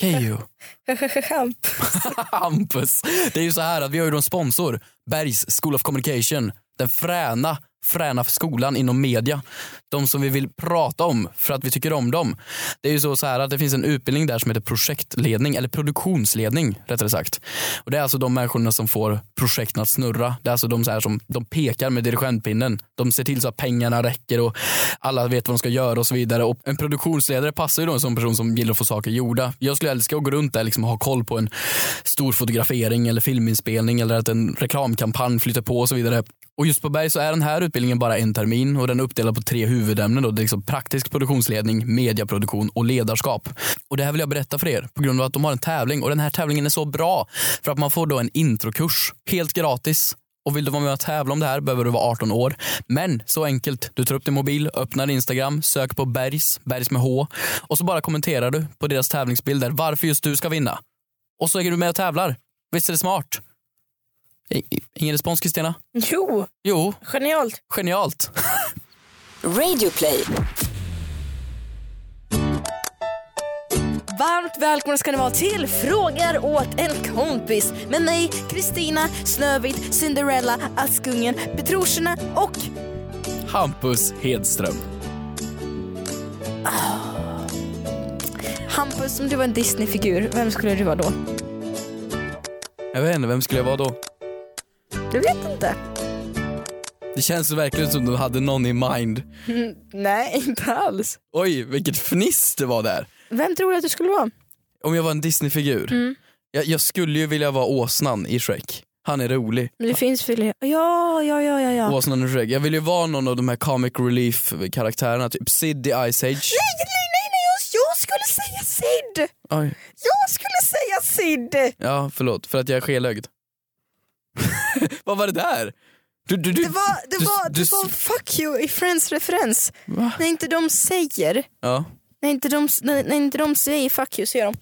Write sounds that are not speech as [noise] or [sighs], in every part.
Keyyo. Champ. Hampus. Det är ju så här att vi har ju då en sponsor, Bergs School of Communication. Den fräna, fräna skolan inom media. De som vi vill prata om för att vi tycker om dem. Det är ju så, så här att det finns en utbildning där som heter projektledning, eller produktionsledning rättare sagt. Och Det är alltså de människorna som får projekten att snurra. Det är alltså de så här som de pekar med dirigentpinnen. De ser till så att pengarna räcker och alla vet vad de ska göra och så vidare. Och en produktionsledare passar ju då en sån person som gillar att få saker gjorda. Jag skulle älska att gå runt där liksom och ha koll på en stor fotografering eller filminspelning eller att en reklamkampanj flyter på och så vidare. Och just på Berg så är den här utbildningen bara en termin och den är uppdelad på tre huvudämnen. Då. Det är liksom praktisk produktionsledning, mediaproduktion och ledarskap. Och Det här vill jag berätta för er på grund av att de har en tävling och den här tävlingen är så bra för att man får då en introkurs helt gratis. Och vill du vara med och tävla om det här behöver du vara 18 år. Men så enkelt, du tar upp din mobil, öppnar Instagram, sök på Bergs, Bergs med H och så bara kommenterar du på deras tävlingsbilder varför just du ska vinna. Och så är du med och tävlar. Visst är det smart? I- i- Ingen respons Kristina? Jo, Jo, genialt. genialt. [laughs] Radio play. Varmt välkomna ska ni vara till Frågar åt en kompis med mig, Kristina, Snövit, Cinderella, Askungen, Petrosina och Hampus Hedström. Hampus. Om du var en Disney-figur, vem skulle du vara då? Jag vet inte, vem skulle jag vara då? Du vet inte. Det känns verkligen som du hade någon i mind. Mm, Nej, inte alls. Oj, vilket fniss det var där. Vem tror du att du skulle vara? Om jag var en Disney-figur. Mm. Jag, jag skulle ju vilja vara åsnan i Shrek. Han är rolig. Men det finns väl... Ja, ja, ja, ja. ja. Åsnan i Shrek. Jag vill ju vara någon av de här comic relief-karaktärerna. Typ Sid i Ice [laughs] Age. Nej, nej, nej, nej, jag- jag skulle säga Sid! Oj, Jag skulle säga Sid! ja, förlåt. För att jag är skelögd. [laughs] Vad var det där? Du, du, du, Det var, det du- var, du- det var fuck you i Friends-referens. Va? När inte de säger, Ja. när inte de, när, när inte de säger fuck you så gör de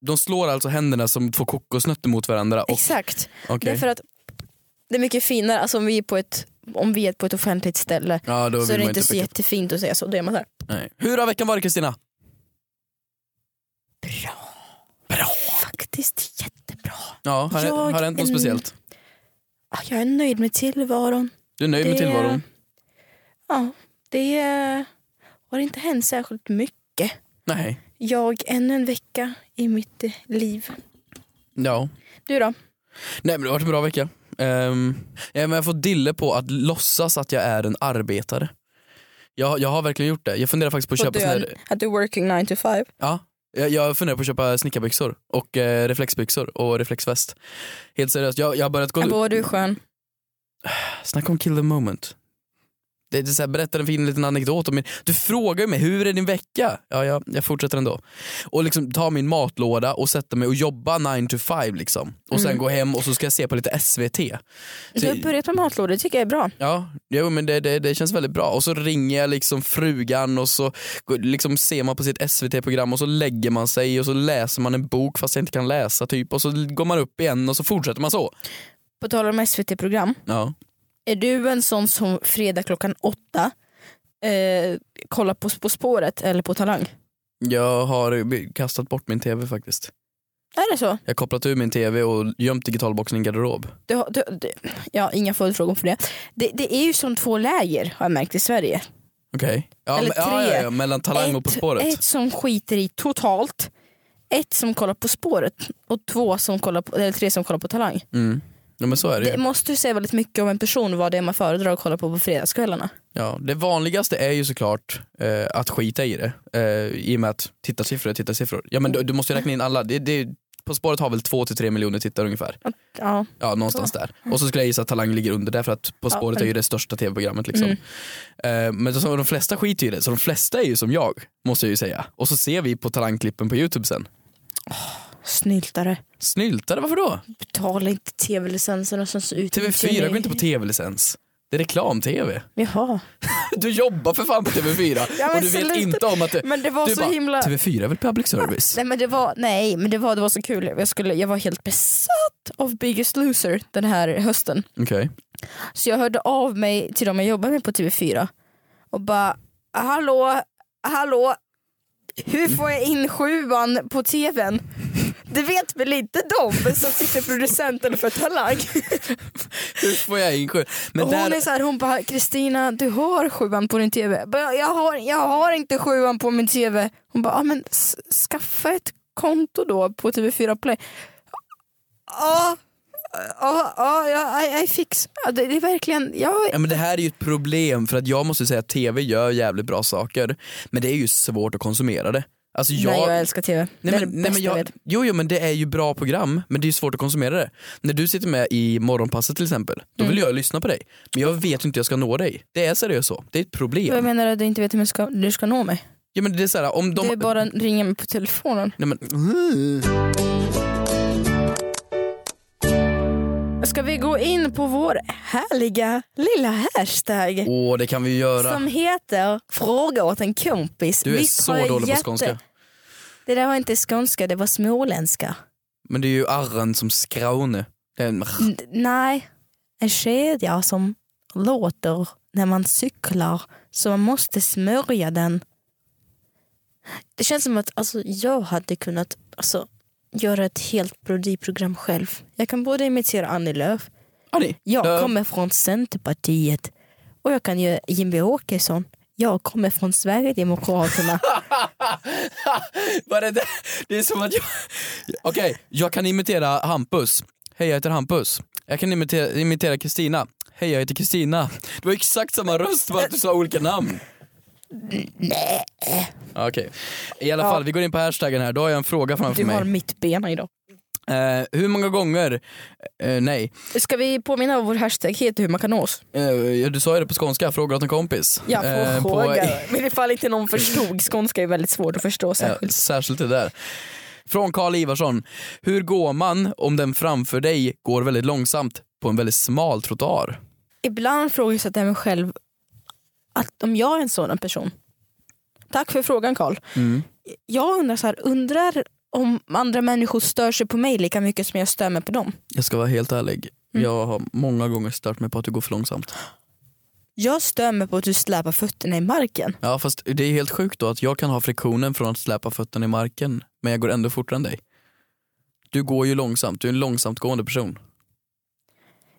De slår alltså händerna som två kokosnötter mot varandra. Och, exakt. Det okej. är för att det är mycket finare, alltså om vi är på ett, om vi är på ett offentligt ställe Ja, då så är vill det man inte så peka- jättefint att säga så. Då är man såhär, Nej. Hur har veckan varit Kristina? bra. Bra. Faktiskt jättebra. Ja, har, det- Jag har det hänt något är- speciellt? Ah, Jag är nöjd med tillvaron. Du är nöjd med det- tillvaron? Ja, det eh, har inte hänt särskilt mycket. Nej. Jag, ännu en vecka i mitt eh, liv. Ja. Du då? Nej men det har varit en bra vecka. Ehm, ja, men jag får dille på att låtsas att jag är en arbetare. Jag, jag har verkligen gjort det. Jag funderar faktiskt på att På köpa sån dön, här, Att du är working 9 to 5. ja, jag, jag funderar på att köpa snickarbyxor och eh, reflexbyxor och reflexväst. Helt seriöst, jag, jag har börjat gå ut. Vad du är skön. Snacka om kill the moment. Det är så här, berätta en fin liten anekdot om min... Du frågar ju mig, hur är din vecka? Ja, jag, jag fortsätter ändå. Och liksom ta min matlåda och sätta mig och jobba 9 to 5 liksom. Och sen gå hem och så ska jag se på lite SVT. Du har börjat med matlådor, det tycker jag är bra. Ja, jo, men det, det, det känns väldigt bra. Och så ringer jag liksom frugan och så går- liksom ser man på sitt SVT-program och så lägger man sig och så läser man en bok fast jag inte kan läsa typ. Och så går man upp igen och så fortsätter man så. På tal om SVT-program, Ja. är du en sån som fredag klockan åtta eh, kollar på På spåret eller på Talang? Jag har kastat bort min tv faktiskt. Är det så? Jag har kopplat ur min tv och gömt digitalboxen i en garderob. Du, har- du, du, ja, inga följdfrågor för det. det. Det är ju som två läger har jag märkt i Sverige. Okej. Ja, Eller men- ja, tre. ja, ja, mellan Talang och På spåret. ett som skiter i totalt, ett som kollar På spåret och två som kollar på, eller tre som kollar på Talang. Mm. Ja, men så är det, Det ju. måste ju säga väldigt mycket om en person vad det är man föredrar att kolla på på fredagskvällarna. Ja, det vanligaste är ju såklart eh, att skita i det. Eh, I och med att tittarsiffror är tittarsiffror. Ja, men du, du måste ju räkna in alla. Det, det, på spåret har väl 2-3 miljoner tittare ungefär. Ja. Ja, någonstans där. Och så skulle jag gissa att Talang ligger under där för att På Ja, spåret men- Mm. är ju det största tv-programmet. Liksom. Eh, men så, de flesta skiter ju i det, så de flesta är ju som jag, måste jag ju säga. Och så ser vi på Talangklippen på Youtube sen. Snyltare. Snyltade, varför då? Betala inte tv-licensen och sen så ut. TV4 går inte på tv-licens. Det är reklam-tv. Jaha. Du jobbar för fan på TV4 Ja, men och du vet sluta. inte om att det... Men det var du så bara, himla... TV4 är väl public service? Nej men det var, nej, men det var, det var så kul. Jag, skulle, jag var helt besatt av Biggest Loser den här hösten. Okej. Så jag hörde av mig till dem jag jobbar med på TV4 och bara hallå, hallå, hur får jag in sjuan på tvn? Det vet väl inte de som sitter producenten för Talang? Hur får jag in sju? Men Och där, Hon är så här, hon bara Kristina du har sjuan på din tv. Bara, Jag har, jag har inte sjuan på min tv. Hon bara, ah, men s- skaffa ett konto då på TV4 Play. Ja, ja, ja, ja, I, I fix. Ja, det, det är verkligen, jag, ja, men det här är ju ett problem för att jag måste säga att tv gör jävligt bra saker men det är ju svårt att konsumera det. Alltså jag, nej, jag älskar tv. Nej, det men, är det nej, bästa men jag jag, vet. jo, jo men det är ju bra program men det är ju svårt att konsumera det. När du sitter med i morgonpasset till exempel, då Mm. vill jag lyssna på dig. Men jag vet ju inte hur jag ska nå dig. Det är seriöst så, det är ett Vad problem. menar du att du inte vet hur du ska, du ska nå mig? Ja, men det är så här, om de... Det är bara att ringa mig på telefonen. nej, men... Ska vi gå in på vår härliga lilla hashtag? Åh det kan vi ju göra. Som heter Fråga åt en kompis. Du är Visst så har jag dålig på jätte- skånska. Det där var inte skånska, det var småländska. Men det är ju arren som skraune. Det är en... N- nej, en kedja som låter när man cyklar så man måste smörja den. Det känns som att alltså, jag hade kunnat alltså, göra ett helt parodiprogram själv. Jag kan både imitera Annie Lööf, Annie, jag Lööf. kommer från Centerpartiet och jag kan göra Jimmie Åkesson. Jag kommer från Sverigedemokraterna. Vad är det? det är som att jag... Okej, jag kan imitera Hampus. Hej jag heter Hampus. Jag kan imitera- imitera Kristina. Hej jag heter Kristina. Det var exakt samma röst bara att du sa olika namn. Okej, i alla fall vi går in på hashtaggen här. Då har jag en fråga framför du mig. har mitt bena idag. Eh, hur många gånger, eh, nej, Ska vi påminna om vår hashtag heter hur man kan nås? Eh, du sa ju det på skånska, fråga åt en kompis. Ja, Eh, på- fråga. [laughs] Men ifall inte någon förstod, skånska är väldigt svårt att förstå Ja, särskilt. särskilt det där. Från Karl Ivarsson. Hur går man om den framför dig går väldigt långsamt på en väldigt smal trottoar? Ibland frågesätter jag mig själv att om jag är en sådan person. Tack för frågan Karl. Mm. Jag undrar så här, undrar om andra människor stör sig på mig lika mycket som jag stör mig på dem. Jag ska vara helt ärlig. Mm. Jag har många gånger stört mig på att det går för långsamt. Jag stör mig på att du släpar fötterna i marken. Ja fast det är helt sjukt då att jag kan ha friktionen från att släpa fötterna i marken men jag går ändå fortare än dig. Du går ju långsamt, du är en långsamtgående person.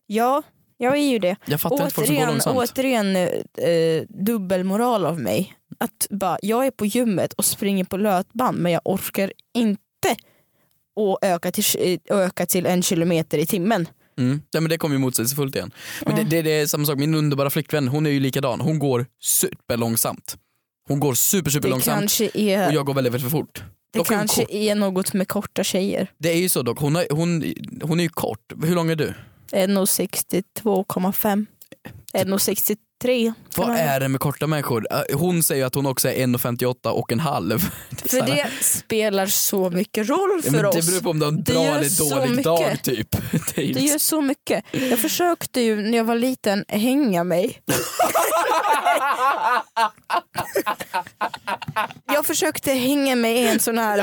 Ja, jag är ju det. Jag fattar inte folk som går Återigen, långsamt. återigen eh, eh, dubbelmoral av mig. Att bara, jag är på gymmet och springer på löpband men jag orkar inte att öka till, eh, öka till en kilometer i timmen. Mm. Nej, men det kommer ju motsägelsefullt igen. Men det, det, det är samma sak, min underbara flickvän hon är ju likadan. Hon går superlångsamt. Hon går super super Det långsamt kanske är, och jag går väldigt, väldigt för fort. det Dock är hon kanske kort. är något med korta tjejer. det är ju så dock, hon, har, hon, hon är ju kort. Hur lång är du? Det är nog 62,5. Det är nog 63. Typ. Vad är det med korta människor? Eh, Hon säger att hon också är 1,58 och en halv. [laughs] Det är så För här- det spelar så mycket roll Ja, för men det oss. beror på om du har en Det bra gör eller så dålig mycket. dag typ. [laughs] Det är ju Det gör så mycket. Jag försökte ju när jag var liten hänga mig. jag försökte hänga mig i en sån här...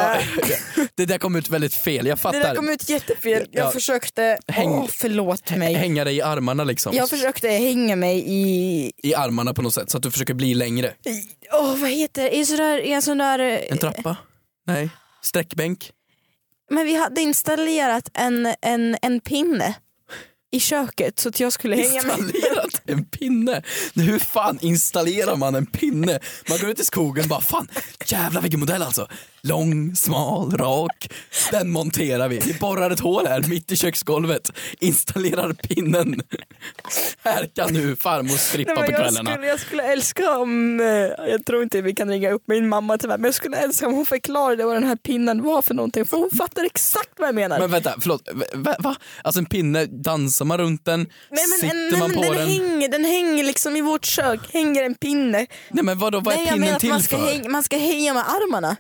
Ja, det där kom ut väldigt fel, jag det där fattar. kom ut jättefel. Jag Ja. försökte... Häng- Åh, förlåt mig. Hänga dig i armarna liksom. Jag försökte hänga mig i... I armarna på något sätt så att du försöker bli längre. i- Åh, vad heter det? I en sån där... I en sån där En trappa? Nej. Sträckbänk? men vi hade installerat en, en, en pinne i köket så att jag skulle hänga mig. Installerat en pinne? Hur fan installerar man en pinne? Man går ut i skogen och bara fan, jävlar vilken modell alltså. Lång, smal, rak. Den monterar vi. Vi borrar ett hål här mitt i köksgolvet. Installerar pinnen. Här kan nu farmor strippa Nej, på men jag, kvällarna. skulle, jag skulle älska om, eh, jag tror inte vi kan ringa upp min mamma tyvärr, men jag skulle älska om hon förklarade vad den här pinnen var för någonting för hon fattar exakt vad jag menar. Men vänta, förlåt. Va- Va? va? Alltså en pinne, dansar man runt den? Nej, men, Sitter en, nej, man men på den, den? Hänger, den hänger liksom i vårt kök, hänger en pinne. Nej men vadå, vad är nej, jag menar pinnen att till man ska, för? hänga, man ska hänga med armarna.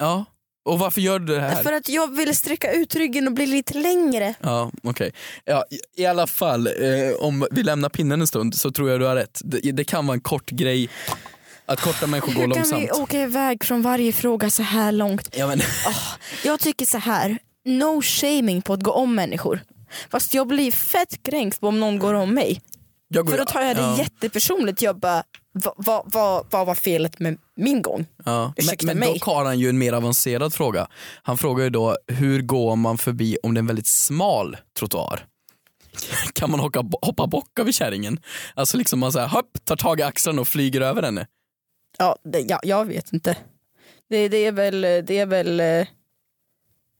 Ja. Och varför gör du det här? För att jag ville sträcka ut ryggen och bli lite längre. Ja, okej. Ja, i- I alla fall, eh, om vi lämnar pinnen en stund så tror jag du har rätt. Det, det kan vara en kort grej att korta människor går Hur kan långsamt. vi åka iväg från varje fråga så här långt? Ja, men, [laughs] Jag tycker så här, no shaming på att gå om människor. Fast jag blir fett kränkt om någon går om mig. Jag går- För då tar jag det ja, jättepersonligt. Jag bara, vad va, va, va var felet med min gång? ja. Men, ursäkta men mig. dock har han ju en mer avancerad fråga. Han frågar ju då hur går man förbi om det är en väldigt smal trottoar? [laughs] Kan man hoppa, hoppa bock över kärringen? Alltså liksom man så här, hopp, tar tag i axeln och flyger över henne. Ja, det, ja, jag vet inte. Det, det, är väl, det är väl eh,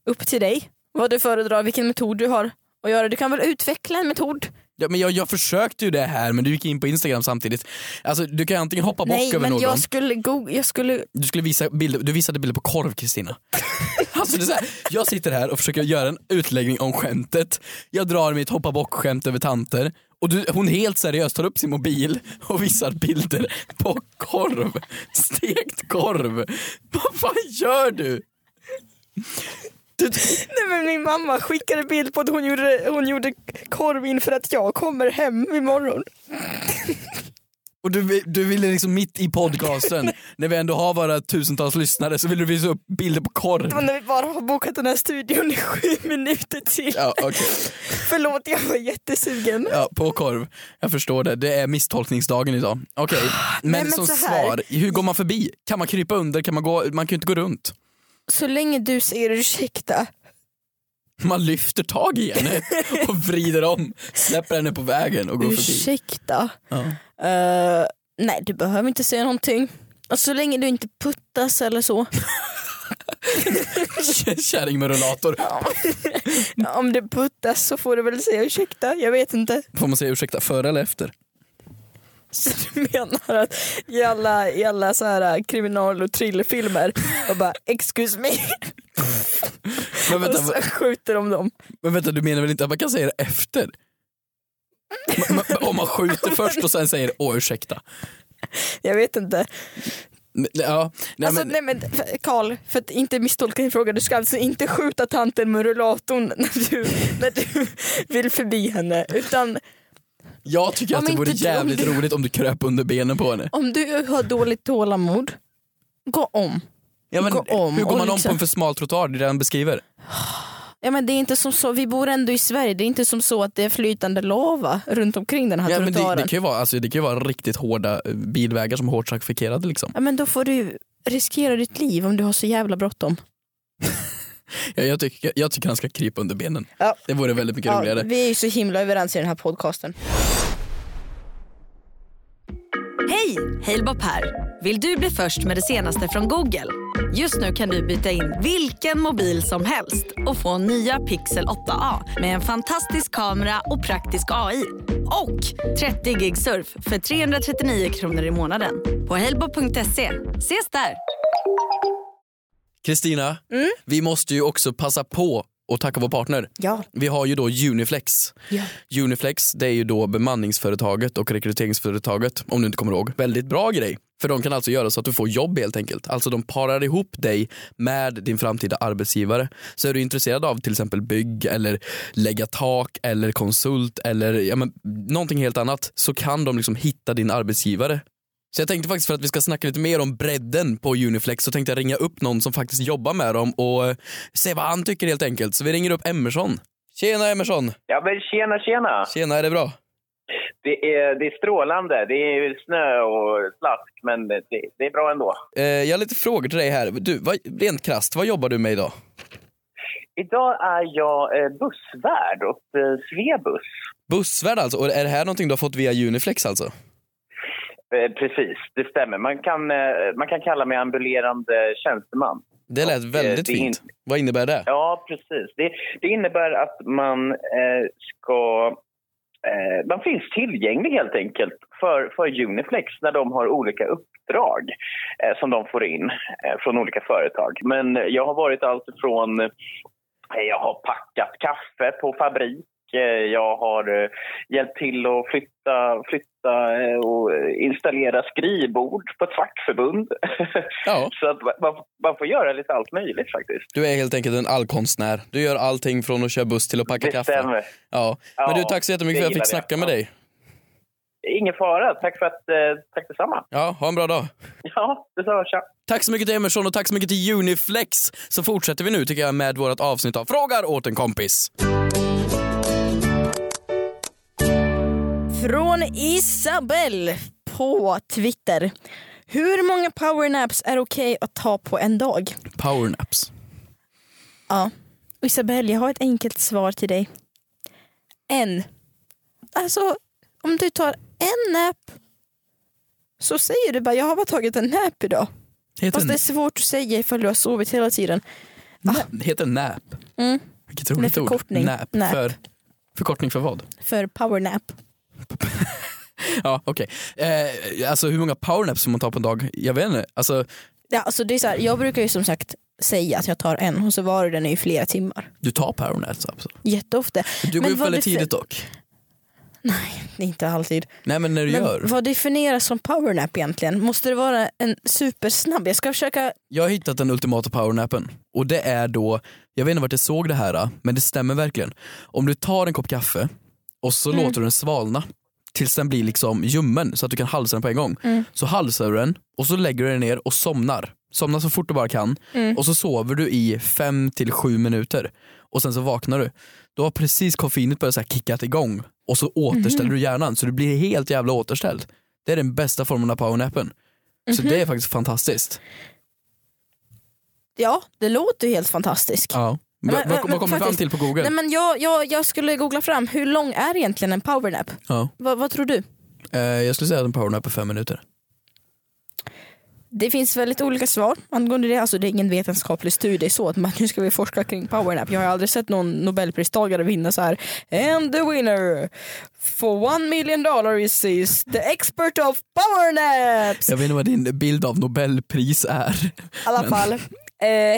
upp till dig vad du föredrar, vilken metod du har att göra. Du kan väl utveckla en metod? Ja, men jag, jag försökte ju det här men du gick in på Instagram samtidigt. Alltså du kan ju antingen hoppa bock Nej, över men någon. jag skulle, go- jag skulle... [laughs] Du, skulle visa bilder, du visade bilder på korv Kristina. alltså, det är så här, jag sitter här och försöker göra en utläggning om skämtet. Jag drar mitt hoppa bock-skämt över tanter. Och du, hon helt seriöst tar upp sin mobil och visar bilder på korv. Stekt korv. [laughs] Vad fan gör du? du Nej, men min mamma skickade bild på att hon gjorde, hon gjorde korv inför att jag kommer hem imorgon. och du, du ville liksom mitt i podcasten, när vi ändå har våra tusentals lyssnare, så vill du visa upp bilder på korv. Och när vi bara har bokat den här studion i sju minuter till. Ja, okej. Förlåt, jag var jättesugen. Ja, på korv. Jag förstår det. Det är misstolkningsdagen idag. Okej, men, Ah, Nej, men som så här. svar, hur går man förbi? Kan man krypa under? Kan man, gå? man kan ju inte gå runt. Så länge du säger ursäkta. Man lyfter tag i [laughs] henne och vrider om, släpper henne på vägen och går förbi. Ursäkta? Ja. [laughs] Eh, nej, du behöver inte säga någonting. Och så länge du inte puttas eller så. Kärring med rullator. Om du puttas så får du väl säga ursäkta, jag vet inte. Får man säga ursäkta före eller efter? Så du menar att i alla, i alla så här eh, kriminal och thrillerfilmer och bara excuse me Men och vänta, så skjuter de dem. men vänta du menar väl inte att man kan säga det efter? Man- man- Om man skjuter först och sen säger åh ursäkta. Jag vet inte. Men- Ja, nej, alltså, men, nej, men, för- Carl, för att inte misstolka din fråga, du ska alltså inte skjuta tanten med rullatorn [laughs] när du, när du vill förbi henne utan jag tycker Om att det inte vore du- om jävligt du- roligt om du kröp under benen på henne. om du har dåligt tålamod, gå om. Ja, men, Gå om hur går och man om liksom- på en för smal trottoar? Det är det han beskriver. Ja, men det är inte som så, vi bor ändå i Sverige, det är inte som så att det är flytande lava runt omkring den här Ja, men det, trottoaren. det, kan ju vara, alltså, det kan ju vara riktigt hårda eh, bilvägar som är hårt trafikerade. Liksom. Ja, men då får du riskera ditt liv om du har så jävla bråttom. Jag, jag, tycker, jag tycker han ska krypa under benen. Ja. Det vore väldigt mycket roligare. vi är ju så himla överens i den här podcasten. Hej! Halebop här. Vill du bli först med det senaste från Google? Just nu kan du byta in vilken mobil som helst och få nya Pixel 8A med en fantastisk kamera och praktisk AI. Och 30 gig surf för 339 kronor i månaden på halebop.se. Ses där! Kristina, Mm? vi måste ju också passa på och tacka vår partner. Ja. Vi har ju då Uniflex. Ja. Uniflex det är ju då bemanningsföretaget och rekryteringsföretaget om du inte kommer ihåg. Väldigt bra grej. För de kan alltså göra så att du får jobb helt enkelt. Alltså de parar ihop dig med din framtida arbetsgivare. Så är du intresserad av till exempel bygg eller lägga tak eller konsult eller ja, men, någonting helt annat så kan de liksom hitta din arbetsgivare. Så jag tänkte faktiskt för att vi ska snacka lite mer om bredden på Uniflex så tänkte jag ringa upp någon som faktiskt jobbar med dem och eh, se vad han tycker helt enkelt. Så vi ringer upp Emerson. Tjena Emerson! Ja men tjena tjena! Tjena, är det bra? Det är, det är strålande. Det är snö och slask men det, det är bra ändå. Eh, jag har lite frågor till dig här. Du, vad, rent krasst, vad jobbar du med idag? Idag är jag eh, bussvärd åt eh, Svebus. Bussvärd alltså, och är det här någonting du har fått via Uniflex alltså? Eh, Precis, det stämmer. Man kan, eh, man kan kalla mig ambulerande tjänsteman. Det lät väldigt eh, det är fint. inte- Vad innebär det? Ja, precis. Det, det innebär att man eh, ska... Eh, man finns tillgänglig helt enkelt för, för Uniflex när de har olika uppdrag eh, som de får in eh, från olika företag. Men jag har varit allt från... Eh, jag har packat kaffe på fabrik eh, jag har eh, hjälpt till att flytta, flytta eh, och eh, installera skrivbord på ett fackförbund. Ja. [laughs] Så att man, man får göra lite allt möjligt faktiskt. Du är helt enkelt en allkonstnär. Du gör allting från att köra buss till att packa Det kaffe. stämmer. Ja. Men du, Ja, tack så jättemycket det för att jag gillar fick jag. snacka med Ja. dig. Ingen fara. Tack för att... Eh, tack detsamma. Ja, ha en bra dag. Ja, detsamma. Tja. Tack så mycket till Emerson och tack så mycket till Uniflex. Så fortsätter vi nu tycker jag med vårt avsnitt av Frågar åt en kompis. Från Isabel på Twitter. Hur många powernaps är okej att ta på en dag? Powernaps. Ja. Isabel, jag har ett enkelt svar till dig. En. Alltså, om du tar en nap så säger du bara jag har bara tagit en nap idag. Heter, Fast det är svårt att säga ifall du har sovit hela tiden. nap. heter nap. Mm. Vilket roligt Med förkortning. ord. Nap. Nap. För, förkortning för vad? För powernap. Ja, okej. Eh, alltså hur många powernaps får man ta på en dag? Jag vet inte. Alltså, Ja, alltså det är så här, jag brukar ju som sagt säga att jag tar en och så varar den i flera timmar. du tar powernaps alltså. Jätteofta. Du går Men upp vad väldigt det för- tidigt dock. Det är Inte alltid. Nej men när du Men gör. vad definieras som powernap egentligen? Måste det vara en supersnabb? Jag ska försöka Jag har hittat den ultimata powernappen och det är då, jag vet inte vart jag såg det här men det stämmer verkligen. Om du tar en kopp kaffe och så låter du den svalna tills den blir liksom ljummen så att du kan halsa den på en gång. Så halsar du den och så lägger du den ner och somnar. Somnar så fort du bara kan och så sover du i 5 till 7 minuter och sen så vaknar du. Då har precis koffeinet börjat så här kickat igång och så återställer du hjärnan så du blir helt jävla återställd. Det är den bästa formen av powernappen. Så det är faktiskt fantastiskt. Ja, det låter ju helt fantastiskt. Ja. Men- Vad- men- vad men kommer vi fram faktiskt- till på google? Nej, men jag, jag, jag skulle googla fram, hur lång är egentligen en powernap? ja. Va, vad tror du? Eh, jag skulle säga att en powernap är fem minuter. Det finns väldigt olika svar angående det. Alltså, det är ingen vetenskaplig studie så att man, [laughs] nu ska vi forska kring powernap. Jag har aldrig sett någon nobelpristagare vinna så här. And the winner for one million dollar is is the expert of powernaps. Jag vet inte vad din bild av nobelpris är. I alla fall. Eh,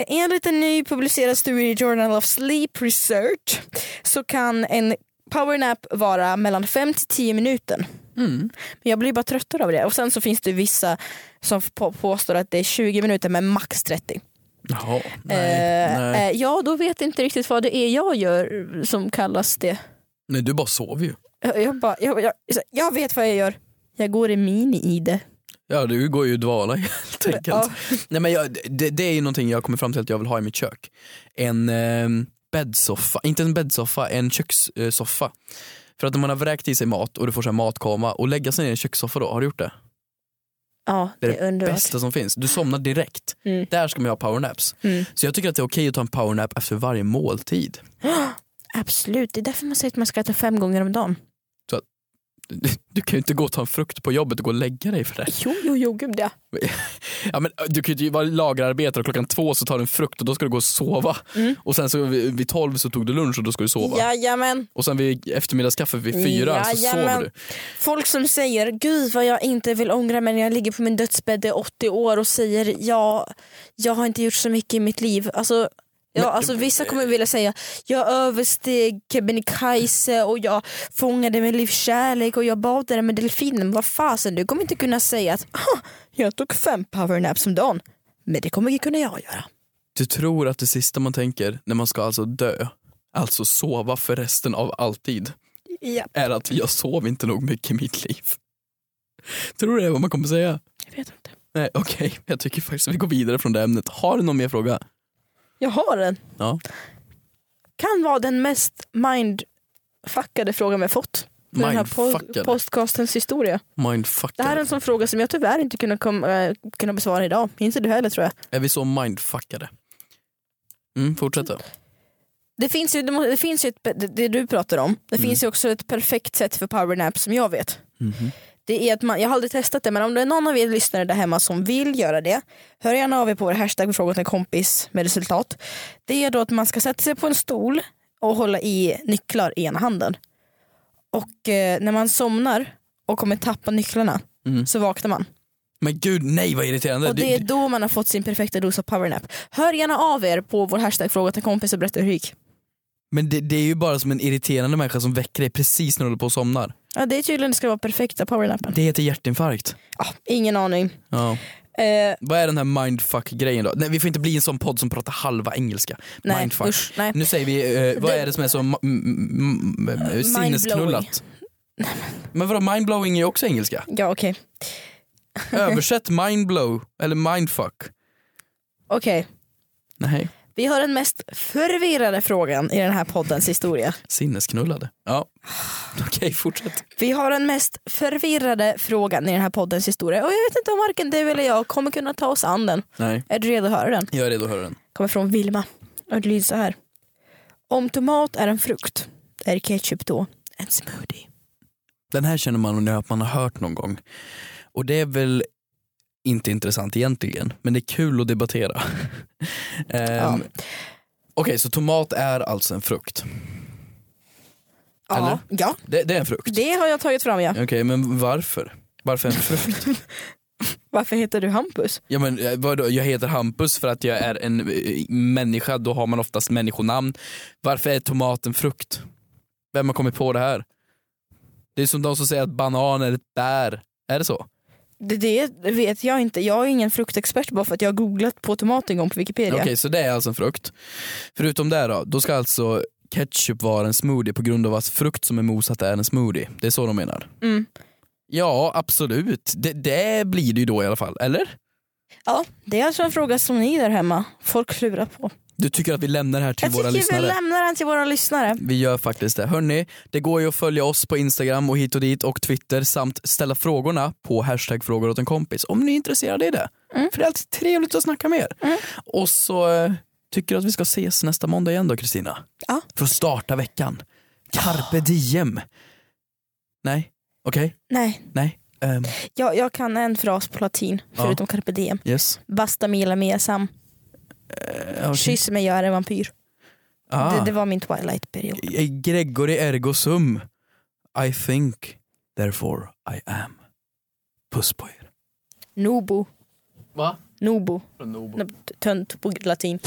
enligt en ny publicerad studie i Journal of Sleep Research så kan en powernap vara mellan 5 till 10 minuter. Mm. Men jag blir bara tröttare av det. Och sen så finns det vissa som på- påstår att det är 20 minuter men max 30. [laughs] Jaha, Eh, nej, nej. eh, ja, då vet jag inte riktigt vad det är jag gör som kallas det. nej. Du bara sover ju. Jag, jag, bara, jag, jag, jag vet vad jag gör. Jag går i mini-id. Ja du går ju i dvala [laughs] helt enkelt. Ja. Nej, men jag, det, det är ju någonting jag kommer fram till att jag vill ha i mitt kök. En eh, bäddsoffa, inte en bäddsoffa, en kökssoffa. För att när man har vräkt i sig mat och du får så här matkoma och lägga sig ner i en kökssoffa då, har du gjort det? Ja, Det det är är underbart. Bästa som finns, du somnar direkt. Mm. Där ska man ju ha powernaps. Mm. [gasps] Så jag tycker att det är okej att ta en powernap efter varje måltid. [laughs] Absolut, det är därför man säger att man ska äta fem gånger om dagen. Du kan ju inte gå och ta en frukt på jobbet och gå och lägga dig för det. Jo, jo, jo, gud ja. Ja, men, äh, du kan ju inte vara lagerarbetare och klockan två så tar du en frukt och då ska du gå och sova. Mm. Och sen så vid, vid tolv så tog du lunch och då ska du sova. Jajamän. Och sen vid eftermiddagskaffe vid fyra så Jajamän. sover du. Folk som säger gud vad jag inte vill ångra mig när jag ligger på min dödsbädd i 80 år och säger ja, jag har inte gjort så mycket i mitt liv. Alltså, ja, alltså, vissa kommer vilja säga jag översteg Kebnekaise och jag fångade med livskärlek och jag badade med delfinen. Vad fasen, du kommer inte kunna säga att "Ah, jag tog fem powernaps om dagen. Men det kommer inte kunna jag göra. Du tror att det sista man tänker när man ska alltså dö, alltså sova för resten av alltid, Ja, är att jag sov inte nog mycket i mitt liv. Tror du det är vad man kommer säga? jag vet inte. Nej okej, jag tycker faktiskt att vi går vidare från det ämnet. Har du någon mer fråga? Jag har en. Ja. Kan vara den mest mindfuckade frågan vi har fått. För den här po- Mindfuckade. podcastens historia. Det Mindfuckade. här är en sån fråga som jag tyvärr inte kunde, kom, eh, kunna besvara idag. Inte du heller tror jag. Är vi så mindfuckade? Mm, fortsätt då. Det finns ju, det må- det finns ju ett, det, det du pratar om, det Mm. finns ju också ett perfekt sätt för powernap som jag vet. Mhm. Det är att man, jag har aldrig testat det men om det är någon av er lyssnare där hemma som vill göra det, hör gärna av er på vår hashtag fråga åt en kompis med resultat. Det är då att man ska sätta sig på en stol och hålla i nycklar i ena handen. Och eh, när man somnar och kommer tappa nycklarna Mm. så vaknar man. Men gud nej vad irriterande. Och det är Du- då man har fått sin perfekta dos av powernap. Hör gärna av er på vår hashtag fråga åt en kompis och berätta hur det gick. Men det, det är ju bara som en irriterande människa som väcker dig precis när du håller på och somnar. Ja, det är tydligen det ska vara perfekta powernappen. Det heter hjärtinfarkt. Ja, ingen aning. Ja. Eh, Vad är den här mindfuck-grejen då? Nej, vi får inte bli en sån podd som pratar halva engelska. nej, mindfuck. usch, nej. Nu säger vi, eh, vad Det- är det som är så ma- m- m- m- [laughs] sinnesknullat? Men vadå, mindblowing är ju också engelska. Ja, okej. Översätt mindblow eller mindfuck. Okej. Nej. Vi har den mest förvirrade frågan i den här poddens historia. Sinnesknullade. [sighs] Ja, okej fortsätt. Vi har den mest förvirrade frågan i den här poddens historia och jag vet inte om varken du eller jag kommer kunna ta oss an den. Nej, Är du redo att höra den? jag är redo att höra den. kommer från Vilma och det lyder så här. Om tomat är en frukt, är ketchup då en smoothie? Den här känner man att man har hört någon gång. Och det är väl inte intressant egentligen, men det är kul att debattera. [laughs] Ehm, Ja. Okej, så tomat är alltså en frukt? Eller? Ja, ja, Det, det är en frukt? det har jag tagit fram ja. Okej, men varför? Varför en [laughs] frukt? Varför heter du Hampus? ja, men, eh, vadå? Jag heter Hampus för att jag är en eh, människa, då har man oftast människonamn. Varför är tomat en frukt? Vem har kommit på det här? Det är som de som säger att banan är ett bär. Är det så? Det, det vet jag inte. Jag är ingen fruktexpert bara för att jag har googlat på tomat en gång på Wikipedia. Okej, så det är alltså en frukt. Förutom det då, då ska alltså ketchup vara en smoothie på grund av att frukt som är mosat är en smoothie. Det är så de menar? Mm. Ja, absolut. Det, det blir det ju då i alla fall, eller? Ja, det är alltså en fråga som ni där hemma, folk klurar på. Du tycker att vi lämnar det här till jag våra tycker lyssnare? vi lämnar den till våra lyssnare. Vi gör faktiskt det. Hörni, det går ju att följa oss på Instagram och hit och dit och Twitter samt ställa frågorna på hashtag frågor åt en kompis om ni är intresserade i det. Mm. För det är alltid trevligt att snacka med er. Och så eh, tycker jag att vi ska ses nästa måndag igen då Kristina. Ja. För att starta veckan. Carpe diem. Nej, okej, Nej, nej. Ehm, jag, jag kan en fras på latin Ja. förutom carpe diem. yes. Basta mila mea sam. Eh, okej. Kyss mig jag är en vampyr. Ah. Det, det var min twilight-period. Gregory ergo sum. I think, therefore I am. Puss på er. Nobo. Va? Nobo. Tönt på latin.